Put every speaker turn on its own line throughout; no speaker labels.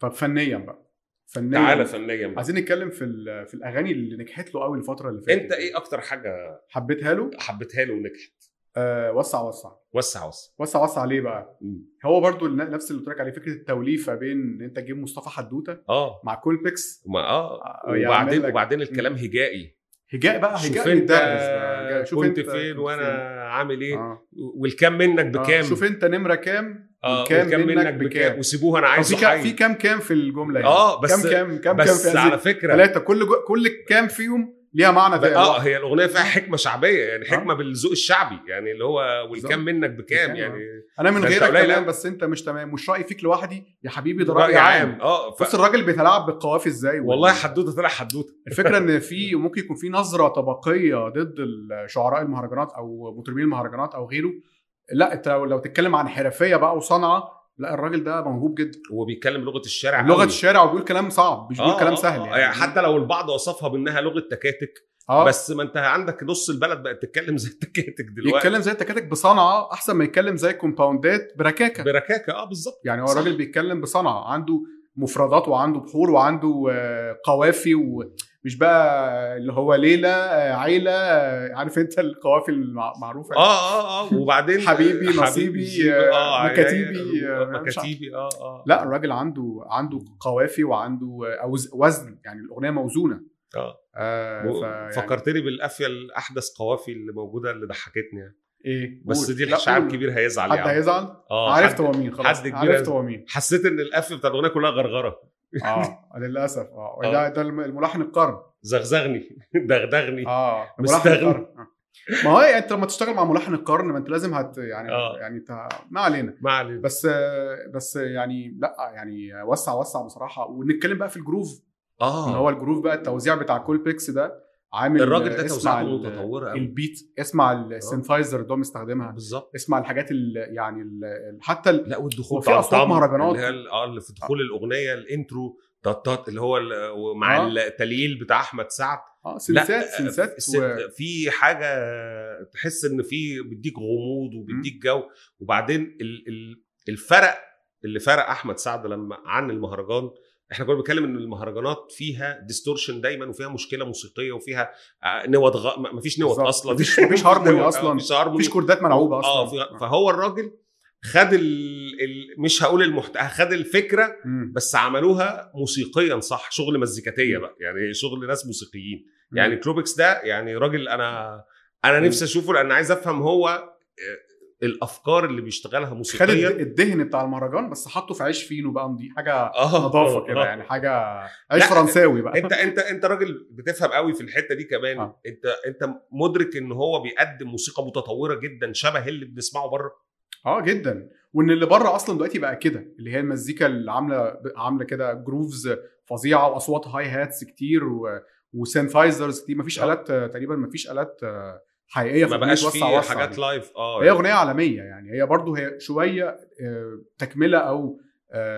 طب فنيا بقى فنيا
تعالى فنيا بقى.
عايزين نتكلم في ال- في الاغاني اللي نجحت له قوي الفتره اللي فاتت
انت ايه اكتر حاجه
حبيتها له
حبيتها له ونجحت
آه وسع وسع
وسع وسع
وسع وسع ليه بقى
مم.
هو برضو الن- نفس اللي قلت لك عليه فكره التوليفه بين ان انت تجيب مصطفى حدوته
اه
مع كولبكس
ما اه
آه، يعمل
وبعدين
لك-
وبعدين الكلام هجائي
هجاء بقى
شوف
هجاء
انت
للدرس بقى. هجاء- شوف
كنت
انت
فين
كنت
وانا
فين.
عامل ايه
آه.
والكام منك
آه،
بكام
شوف انت نمره كام
آه،
والكام
والكام
منك بكام.
وسيبوه انا
طب
عايزه
في كام
حي.
في كام كام في الجمله
اه بس
كام كام كام كام
بس
في
على فكره
ثلاثه كل جو... كل كام فيهم ليها معنى
ب-
تاني
اه هي الاغنيه فيها حكمه شعبيه يعني
آه.
حكمه بالذوق الشعبي يعني اللي هو والكام منك بكام
بالظبط.
يعني
انا من
ده انت
غيرك
قليل
تمام
أوي.
بس انت مش تمام مش رايي فيك لوحدي يا حبيبي ده راي عام
اه ف...
بص الراجل بيتلاعب بالقوافي ازاي
والله حدوته طلع حدوته
الفكره ان في ممكن يكون في نظره طبقيه ضد ال- شعراء المهرجانات او مطربين المهرجانات او غيره لا انت لو لو تتكلم عن حرفيه بقى وصنعه لا الراجل ده موهوب جدا
وبيتكلم لغه الشارع
لغه
قوي.
الشارع وبيقول كلام صعب مش بيقول
يعني آه،
كلام
آه،
سهل
آه، يعني حتى لو البعض وصفها بانها لغه تكاتك
آه.
بس ما انت عندك نص البلد بقت تتكلم زي التكاتك دلوقتي
يتكلم زي التكاتك بصنعه احسن ما يتكلم زي كومباوندات بركاكه
بركاكه اه بالظبط
يعني هو
صح.
الراجل بيتكلم بصنعه عنده مفردات وعنده بحور وعنده آه، قوافي ومش بقى اللي هو ليله آه، عيله آه، عارف انت القوافي المعروفه
اه اه اه وبعدين
آه. حبيبي، نصيبي، آه،
آه،
مكاتيبي،
آه،
آه، مش عارف.
مكاتيبي اه اه
لا الراجل عنده عنده قوافي وعنده آه، أوز- وزن يعني الاغنيه موزونه
اه
آه
و-
ف- يعني
فكرتني بالقافيه الاحدث قوافي اللي موجوده اللي ضحكتني يعني.
ايه
بس
قول.
دي
لا،
الشعب
قول.
الكبير هيزعل
حد
يعني
هيزعل
اه
عرفت
عرفت
هو مين خلاص
حد كبير
عرفت
هيزعل.
هو مين
حسيت ان القافيه بتاع الاغنيه كلها غرغره
اه للاسف اه
آه.
ده ده الم- الملحن القرن
زغزغني دغدغني
اه ملحن
مستغني.
القرن. آه. ما هو انت لما تشتغل مع ملحن القرن ما انت لازم هت يعني
آه.
يعني انت ما علينا
ما علينا
بس بس يعني لا يعني وسع وسع بصراحه ونتكلم بقى في الجروف اللي
اه
هو الجروف بقى التوزيع بتاع كول بيكس ده عامل
الراجل ده آه.
اسمع
توزيعاته
ال-
متطوره قوي
البيت اسمع السينثايزر اللي هو مستخدمها
بالظبط
اسمع الحاجات ال يعني ال ال- حتى ال-
لا والدخول
وفي أصوات
الطم
مهرجانات.
اللي هي ال- اه اللي في دخول الاغنيه الانترو تطط اللي هو ال- مع
آه.
التليل بتاع احمد سعد
اه سنسات
آه،
سنسات و...
الست- في حاجه تحس ان في بيديك غموض وبيديك جو وبعدين ال- ال- الفرق اللي فرق احمد سعد لما عن المهرجان احنا كنا بنتكلم ان المهرجانات فيها ديستورشن دايما وفيها مشكله موسيقيه وفيها آه، نوت غ... ما- مفيش نوت
بالظبط.
اصلا
مفيش- مفيش هارموني
نوت، آه،
أصلاً.
مفيش هارموني
مفيش كوردات ملعوبه اصلا
اه في- فهو الراجل خد ال... ال... مش هقول المحت... خد الفكره
مم.
بس عملوها موسيقيا صح شغل مزيكاتيه بقى يعني شغل ناس موسيقيين
مم.
يعني كروبكس ده يعني راجل انا انا نفسي اشوفه لان عايز افهم هو آه، الافكار اللي بيشتغلها
خد
موسيقيا
الد- الدهن بتاع المهرجان بس حطه في عيش فينو بقى نضيف حاجه
اه
نظافه
آه،
كده
آه.
يعني حاجه عيش
لا،
فرنساوي بقى
انت انت انت راجل بتفهم قوي في الحته دي كمان
آه.
انت انت مدرك ان هو بيقدم موسيقى متطوره جدا شبه اللي بنسمعه بره
اه جدا وان اللي بره اصلا دلوقتي بقى كده اللي هي المزيكا اللي عامله عامله كده جروفز فظيعه واصوات هاي هاتس كتير و... وسينثايزرز كتير مفيش
آه.
الات آه، تقريبا مفيش الات آه، حقيقيه
ما
أغنية
بقاش
وسع
فيه
وسع
حاجات
دي.
لايف اه
يعني. هي اغنيه عالميه يعني هي برضو هي شويه آه، تكمله او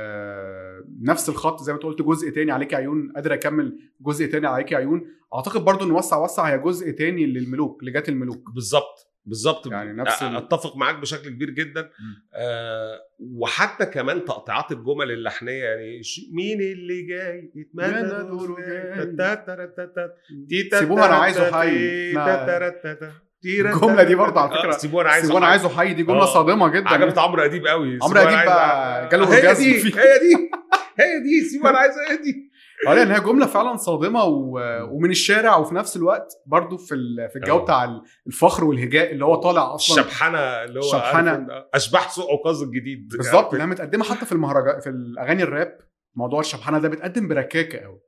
آه، نفس الخط زي ما انت قلت جزء تاني عليك عيون قادر اكمل جزء تاني عليك عيون اعتقد برضو ان وسع وسع هي جزء تاني للملوك لجات الملوك
بالظبط بالظبط
يعني نفس ال-
اتفق معاك بشكل كبير جدا آه وحتى كمان تقطيعات الجمل اللحنيه يعني ش- مين اللي جاي
يا
يتمنى
ده
دوره
دوره
جاي.
جاي.
تتتتتت. تي
سيبوها انا عايزه حي
تتتتت.
ما-
تتتتت.
الجملة دي برضه على
آه،
فكرة
سيبوها انا عايزه
عايزه وانا
حي.
عايزه حي دي جمله
آه.
صادمه جدا
عجبت
يعني.
عمرو اديب قوي
عمرو
سيبوها أنا
أديب
عايزه-
بقى جاله
هي
أورجازم
دي
فيه.
هي دي هي دي سيبوها انا عايزه هي دي
اه لان هي جمله فعلا صادمه و... ومن الشارع وفي نفس الوقت برضو في ال... في الجو
آه.
بتاع الفخر والهجاء اللي هو طالع اصلا
الشبحنه اللي هو
الشبحنة.
عارف إن- اشباح سوق عكاظ الجديد
بالظبط انها متقدمه حتى في المهرجان في الاغاني الراب موضوع الشبحانه ده بتقدم بركاكه قوي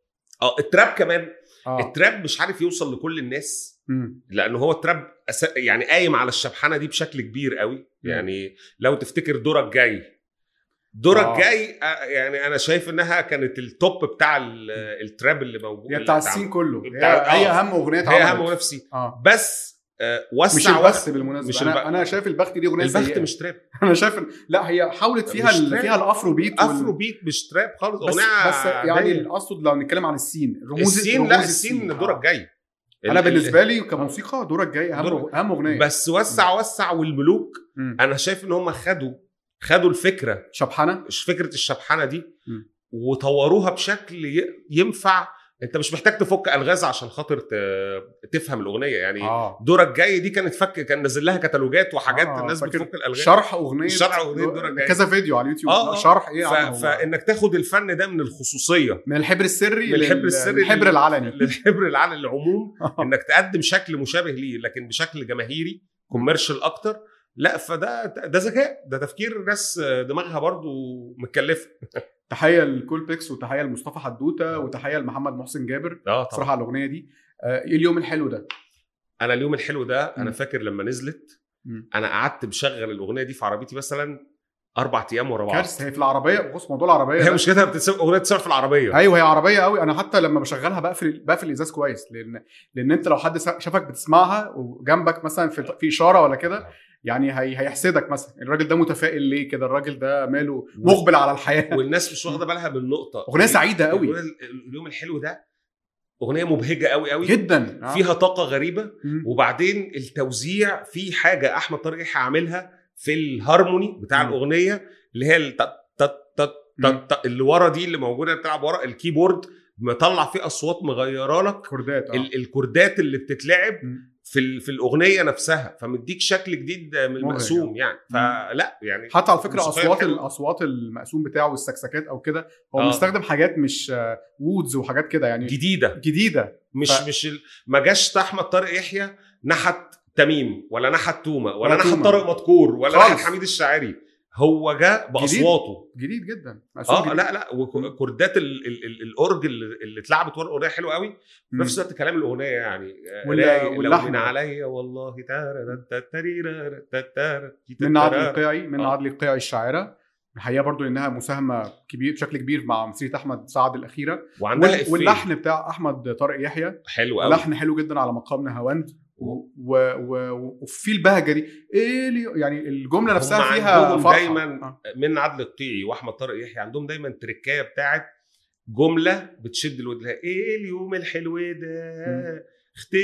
اه التراب كمان
اه
التراب مش عارف يوصل لكل الناس
مم.
لان هو التراب أس... يعني قايم على الشبحنه دي بشكل كبير قوي يعني لو تفتكر دورك جاي دورك
آه.
آه. جاي آه، يعني انا شايف انها كانت التوب بتاع ال- التراب اللي موجود
هي بتاع
اللي اتعمل.
السين كله هي,
بتاع-
هي
آه.
اهم اغنيه
هي
اتعملت
هم نفسي
اه
بس آه،
مش
وسع
البخت
وسع
بالمناسبه
مش
مش انا
البخت.
انا شايف البخت دي اغنيه
البخت
سيئة.
مش تراب
انا شايف ال- لا هي حاولت فيها
مش
ال...
تراب.
فيها الافرو بيت وال-
افرو بيت مش تراب خالص
بس,
اغنيه
بس يعني
عادية.
اقصد لو نتكلم عن السين رموز
السين
رموز
لا السين
آه.
دورك جاي
انا
ال- ال-
بالنسبه لي كموسيقى دورك جاي اهم
دورك-
اهم اغنيه
بس آه. وسع وسع والملوك
مم.
انا شايف ان هم خدوا خدوا الفكره
شبحانه
فكره الشبحنه دي
مم.
وطوروها بشكل ي- ينفع انت مش محتاج تفك الغاز عشان خاطر ت- تفهم الاغنيه يعني
اه
دورك جاي دي كانت فك كان نازل لها كتالوجات وحاجات
آه،
الناس
فاكر
بتفك الالغاز
شرح اغنيه
شرح أغنية دورك جاي.
كذا فيديو على اليوتيوب
آه، آه.
شرح ايه
ف...
عنه هو.
فانك تاخد الفن ده من الخصوصيه
من الحبر السري
من الحبر
لل-
السري
للحبر
لل-
العلني آه.
للحبر العلى العموم انك تقدم شكل مشابه ليه لكن بشكل جماهيري كوميرشال اكتر لا فده ده ذكاء ده تفكير ناس دماغها برضو متكلفه
تحيه لكول بيكس وتحيه لمصطفى
آه.
حدوته وتحيه لمحمد محسن جابر
اه
بصراحه على الاغنيه دي آه، ايه اليوم الحلو ده
انا اليوم الحلو ده انا
مم.
فاكر لما نزلت
مم.
انا قعدت بشغل الاغنيه دي في عربيتي مثلا اربع ايام ورا بعض
كارثه هي في العربيه بص موضوع العربيه
هي
ده.
مش كده بتتسمع اغنيه بتتسمع في العربيه
ايوه هي عربيه قوي انا حتى لما بشغلها بقفل بقفل الازاز كويس لان لان انت لو حد سا- شافك بتسمعها وجنبك مثلا في في اشاره ولا كده يعني هي هيحسدك مثلا الراجل ده متفائل ليه كده الراجل ده ماله مقبل على الحياه
والناس مش واخده بالها من النقطه
اغنيه سعيده قوي
اليوم- اليوم الحلو ده اغنيه مبهجه قوي قوي
جدا آه.
فيها طاقه غريبه
مم.
وبعدين التوزيع في حاجه احمد طارق عاملها في الهارموني بتاع
مم.
الاغنيه اللي هي الت- تت- تت-
مم.
تت- اللي ورا دي اللي موجوده بتلعب ورا الكيبورد مطلع فيه اصوات مغيره لك
كوردات آه.
ال- الكوردات اللي بتتلعب
مم.
في ال- في الاغنيه نفسها فمديك شكل جديد من
مبهج.
المقسوم يعني فلا يعني
حتى على فكره
موسيقية
اصوات
حلوة.
الاصوات المقسوم بتاعه والسكسكات او كده هو
آه.
مستخدم حاجات مش آه، وودز وحاجات كده يعني
جديده
جديده
مش
ف-
مش ال- ما جاش احمد طارق يحيى نحت تميم ولا نحت تومه
ولا
ولا نحت
تومة.
طارق مدكور ولا
خالص.
نحت حميد الشاعري هو جا باصواته
جديد جدا مقسوم
اه
جديد.
لا لا وكوردات ال- ال- ال- الاورج اللي اللي اتلعبت ورا الاغنيه حلوه قوي في
مم.
نفس الوقت كلام الاغنيه يعني آه،
وال-
رايق، لو
واللحن.
من عليا والله تارا تا تاريرا تا تارا تا
من عدلي
تارا.
القيعي من
آه.
عدلي القيعي الشاعره الحقيقه برضو انها مساهمه كبير بشكل كبير مع مسيره احمد سعد الاخيره
وعندها
وال-
إفيه
واللحن بتاع احمد طارق يحيى
حلو قوي
لحن حلو جدا على مقام نهاوند و- و- و- وفي البهجه دي ايه لي- يعني الجمله
هم
نفسها فيها
عندهم
فرحه
دايماً
آه.
من عدل الطيعي واحمد طارق يحيى عندهم دايما تركايه بتاعت جمله بتشد الود لها ايه اليوم الحلو ده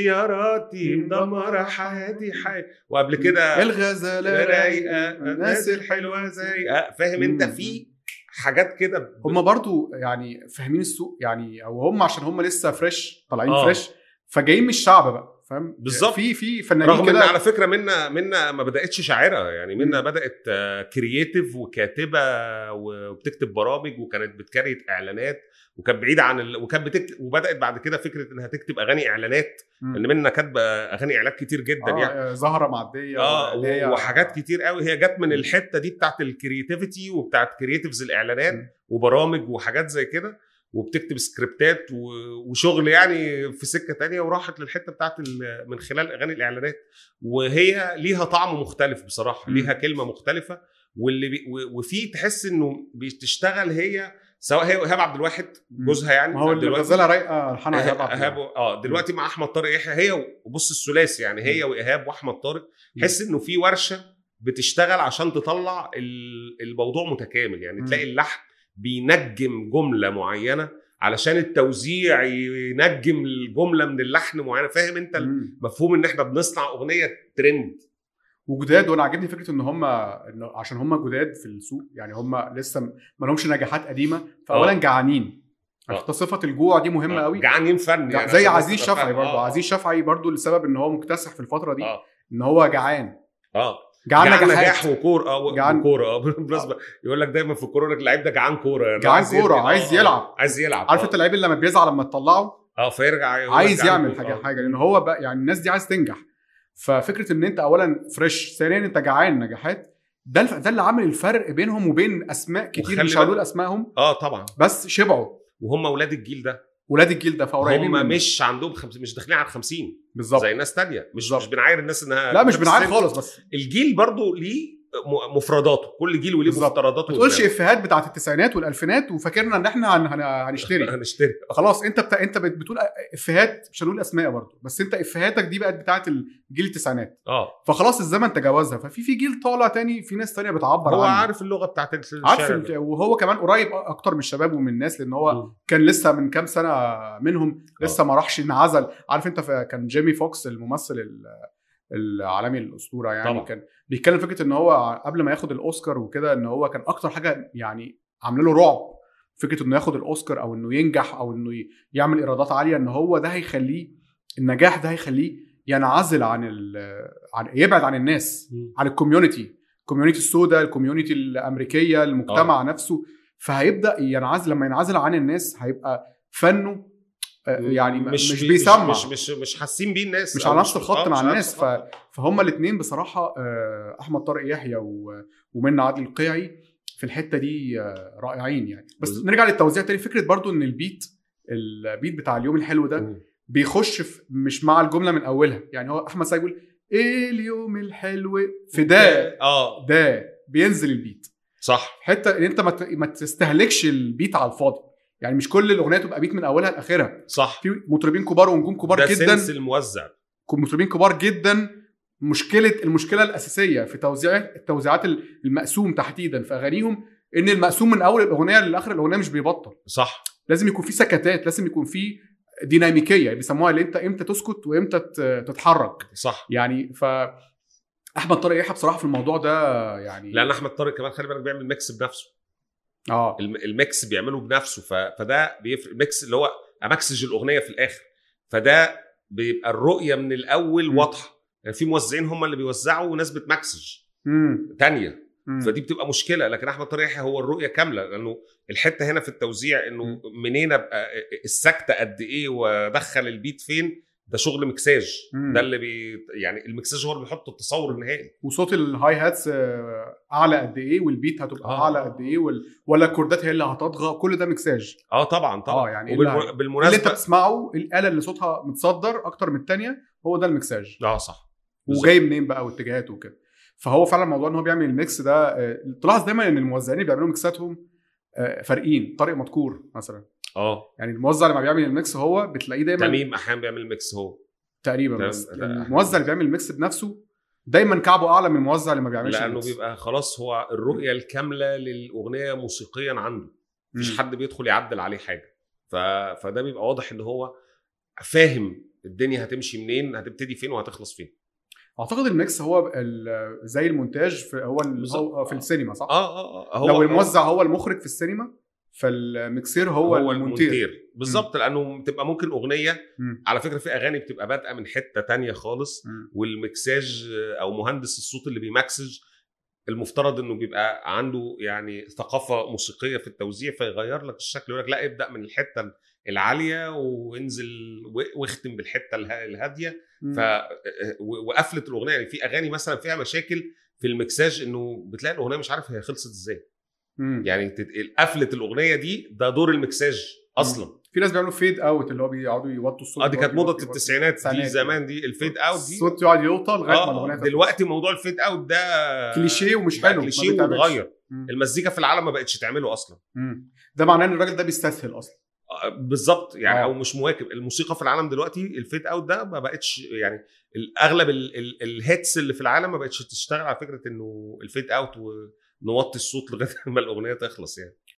اختياراتي
مم.
مدمره حياتي حي... وقبل كده
الغزاله
رايقه الناس الحلوه زي أه، فاهم انت
مم.
في حاجات كده ب-
هم برضو يعني فاهمين السوق يعني او هم عشان هم لسه فريش طالعين
آه.
فريش فجايين من الشعب بقى فاهم
بالظبط.
في في فنانين
رغم ان
كده
على فكره منا منا ما بداتش شاعره يعني منا آه،
مم.
بدات كرييتيف وكاتبه وبتكتب برامج وكانت بتكريت اعلانات وكانت بعيده عن ال... وكانت بتكتب وبدات بعد كده فكره انها تكتب اغاني اعلانات
مم.
ان منا كاتبه اغاني اعلانات كتير جدا يعني
آه زهره معديه
اه
اللي هي-
و- وحاجات كتير قوي هي جت من الحته دي بتاعت الكرياتيفيتي وبتاعت كرياتيفز
م.
الاعلانات وبرامج وحاجات زي كده وبتكتب سكريبتات و- وشغل يعني في سكه تانية وراحت للحته بتاعت ال- من خلال اغاني الاعلانات وهي ليها طعم مختلف بصراحه
م.
ليها كلمه مختلفه واللي بي و- وفي تحس انه بتشتغل هي سواء هي وإيهاب عبد الواحد
م.
جوزها يعني
ما هو اللي
دلوقتي- أه،
غزاله رايقه الحان على
إيهاب-
بعض
ايهاب و- اه دلوقتي مع احمد طارق يحيى هي بص الثلاثي يعني هي وايهاب واحمد طارق
مم.
حس انه في ورشه بتشتغل عشان تطلع ال- الموضوع متكامل يعني
مم.
تلاقي اللحن بينجم جمله معينه علشان التوزيع ينجم الجمله من اللحن معينه فاهم انت
مم.
مفهوم ان احنا بنصنع اغنيه ترند
وجداد وانا عاجبني فكره ان هم إنه عشان هم جداد في السوق يعني هم لسه م- ما لهمش نجاحات قديمه فاولا
آه.
جعانين
آه.
حتى صفه الجوع دي مهمه قوي
جعانين فن
جع-
يعني
زي
عشان
عزيز
بس
شفعي
أفهم.
برضو
آه.
عزيز شفعي برضو لسبب ان هو مكتسح في الفتره دي
اه
ان هو جعان
اه
جعان
جعان
نجاحات
نجاح وكوره اه
جعان-
جعان وكوره اه بالمناسبه يقول لك دايما في الكوره لك اللعيب ده جعان كوره يعني
جعان
عايز يلعب.
كورة،
اه،
عايز
اه،
يلعب.
عايز يلعب
عارف
اه.
انت اللعيب اللي لما بيزعل لما تطلعه
اه فيرجع يقول لك
عايز
جعان
يعمل
كورة.
حاجه
اه.
حاجه لان هو بقى يعني الناس دي عايز تنجح ففكره ان انت اولا فريش ثانيا انت جعان نجاحات ده الف- ده اللي عامل الفرق بينهم وبين اسماء كتير
وخلي
مش هقول
بالك-
اسمائهم
اه طبعا
بس شبعوا
وهم اولاد الجيل ده
ولاد الجيل ده فقريبين
هم
منه.
مش عندهم خمس... مش داخلين على 50
بالظبط
زي ناس تانية مش
بالظبط.
مش بنعاير الناس انها
لا مش
بس
بنعاني
السن-
خالص بس
الجيل برضو ليه م- مفرداته كل جيل وليه
بالظبط.
مفترضاته
ما تقولش
وإزاي.
افيهات بتاعت التسعينات والالفينات وفاكرنا ان احنا هن- هن- هنشتري
هنشتري
خلاص انت بتا... انت بت- بتقول افيهات مش هنقول اسماء برضه بس انت افيهاتك دي بقت بتاعت الجيل التسعينات
اه
فخلاص الزمن تجاوزها ففي في جيل طالع تاني في ناس تانية بتعبر
هو
عنه.
عارف اللغه بتاعت الشارع
عارف
ده.
ال- وهو كمان قريب اكتر من الشباب ومن الناس لان هو
مم. آه.
كان لسه من كام سنه منهم لسه ما راحش انعزل عارف انت ف- كان جيمي فوكس الممثل ال- العالمي الاسطوره يعني
طبعا.
كان بيتكلم فكره ان هو قبل ما ياخد الاوسكار وكده ان هو كان اكتر حاجه يعني عامله له رعب فكره انه ياخد الاوسكار او انه ينجح او انه ي- يعمل ايرادات عاليه ان هو ده هيخليه النجاح ده هيخليه ينعزل عن ال- عن يبعد عن الناس عن الكوميونتي الكوميونتي السوداء الكوميونتي الامريكيه المجتمع
آه.
أوه. نفسه فهيبدا ينعزل لما ينعزل عن الناس هيبقى فنه آه، يعني مش, مش بيسمع
مش مش مش حاسين بيه الناس
مش
أو
على نفس الخط
آه،
مع
مش على
الناس،
نفس الخط.
فهم الاثنين بصراحه آه، احمد طارق يحيى و- ومنى عادل القيعي في الحته دي آه، رائعين يعني بس
بالظبط.
نرجع للتوزيع تاني فكره برضو ان البيت البيت بتاع اليوم الحلو ده
مم.
بيخش في مش مع الجمله من اولها يعني هو احمد سعيد بيقول ايه اليوم الحلو في ده
اه
ده بينزل البيت
صح
حته ان انت ما ت- ما تستهلكش البيت على الفاضي يعني مش كل الاغنيه تبقى بيت من اولها لاخرها
صح
في مطربين كبار ونجوم كبار
ده
جدا
سنس الموزع
مطربين كبار جدا مشكله المشكله الاساسيه في توزيع التوزيعات المقسوم تحديدا في اغانيهم ان المقسوم من اول الاغنيه لاخر الاغنيه مش بيبطل
صح
لازم يكون في سكتات لازم يكون في ديناميكيه بيسموها اللي انت امتى تسكت وامتى ت- تتحرك
صح
يعني ف احمد طارق يحيى بصراحه في الموضوع ده يعني
لان احمد طارق كمان خلي بالك بيعمل ميكس بنفسه
اه
الم- الميكس بيعمله بنفسه ف- فده بيفرق ميكس اللي هو امكسج الاغنيه في الاخر فده بيبقى الرؤيه من الاول
مم.
واضحه يعني في موزعين هم اللي بيوزعوا وناس بتمكسج
مم.
تانية
مم.
فدي بتبقى مشكله لكن احمد طارق يحيى هو الرؤيه كامله لانه الحته هنا في التوزيع انه منين ابقى السكته قد ايه وادخل البيت فين ده شغل مكساج
مم.
ده اللي بي يعني المكساج هو اللي بيحط التصور النهائي
وصوت الهاي هاتس آه، اعلى قد ايه والبيت هتبقى
آه.
اعلى قد ايه وال... ولا الكوردات هي اللي هتطغى كل ده مكساج
اه طبعا طبعا
آه، يعني
وبالم-
اللي- اللي انت
بالمناسبه
بتسمعه الاله اللي صوتها متصدر اكتر من الثانيه هو ده المكساج
اه صح بالظبط.
وجاي منين بقى واتجاهاته وكده فهو فعلا موضوع ان هو بيعمل الميكس ده آه، تلاحظ دايما ان الموزعين اللي بيعملوا ميكساتهم آه، فارقين طارق مدكور مثلا
اه
يعني الموزع لما بيعمل الميكس هو بتلاقيه دايما
تميم احيانا بيعمل ميكس هو
تقريبا
تمام.
بس
لا،
الموزع اللي بيعمل الميكس بنفسه دايما كعبه اعلى من الموزع اللي ما بيعملش
لانه
الميكس.
بيبقى خلاص هو الرؤيه الكامله للاغنيه موسيقيا عنده
مم.
مفيش حد بيدخل يعدل عليه حاجه ف... فده بيبقى واضح ان هو فاهم الدنيا هتمشي منين هتبتدي فين وهتخلص فين
اعتقد الميكس هو ال- زي المونتاج في هو ال-
بالظبط.
هو في السينما صح؟
اه اه, آه
هو
هو
لو الموزع هو المخرج في السينما فالميكسير هو, هو المونتير
بالظبط لانه بتبقى ممكن اغنيه
مم.
على فكره في اغاني بتبقى بادئه من حته تانية خالص
مم.
والمكساج او مهندس الصوت اللي بيمكسج المفترض انه بيبقى عنده يعني ثقافه موسيقيه في التوزيع فيغير لك الشكل يقول لك لا ابدا من الحته العاليه وانزل و- واختم بالحته اله- الهاديه
مم.
ف آه، و- وقفله الاغنيه يعني في اغاني مثلا فيها مشاكل في المكساج انه بتلاقي الاغنيه مش عارف هي خلصت ازاي
مم.
يعني تت- قفله الاغنيه دي ده دور المكساج اصلا
في ناس بيعملوا فيد اوت اللي هو بيقعدوا يوطوا الصوت
اه دي كانت
يوطوا-
موضه
يوطوا-
التسعينات دي
التسعينات.
زمان دي الفيد اوت دي
الصوت يقعد يوطى لغايه ما
اه
الاغنيه
دلوقتي موضوع الفيد اوت ده
تخلص. كليشيه ومش
بقى
حلو ما
كليشيه
بيتعملش.
واتغير
مم.
المزيكا في العالم ما بقتش تعمله اصلا
مم. ده معناه ان الراجل ده بيستسهل اصلا
آه، بالظبط يعني
آه.
او مش مواكب الموسيقى في العالم دلوقتي الفيد اوت ده ما بقتش يعني اغلب الهيتس اللي في العالم ما بقتش تشتغل على فكره انه الفيد اوت ونوطي الصوت لغايه ما الاغنيه تخلص يعني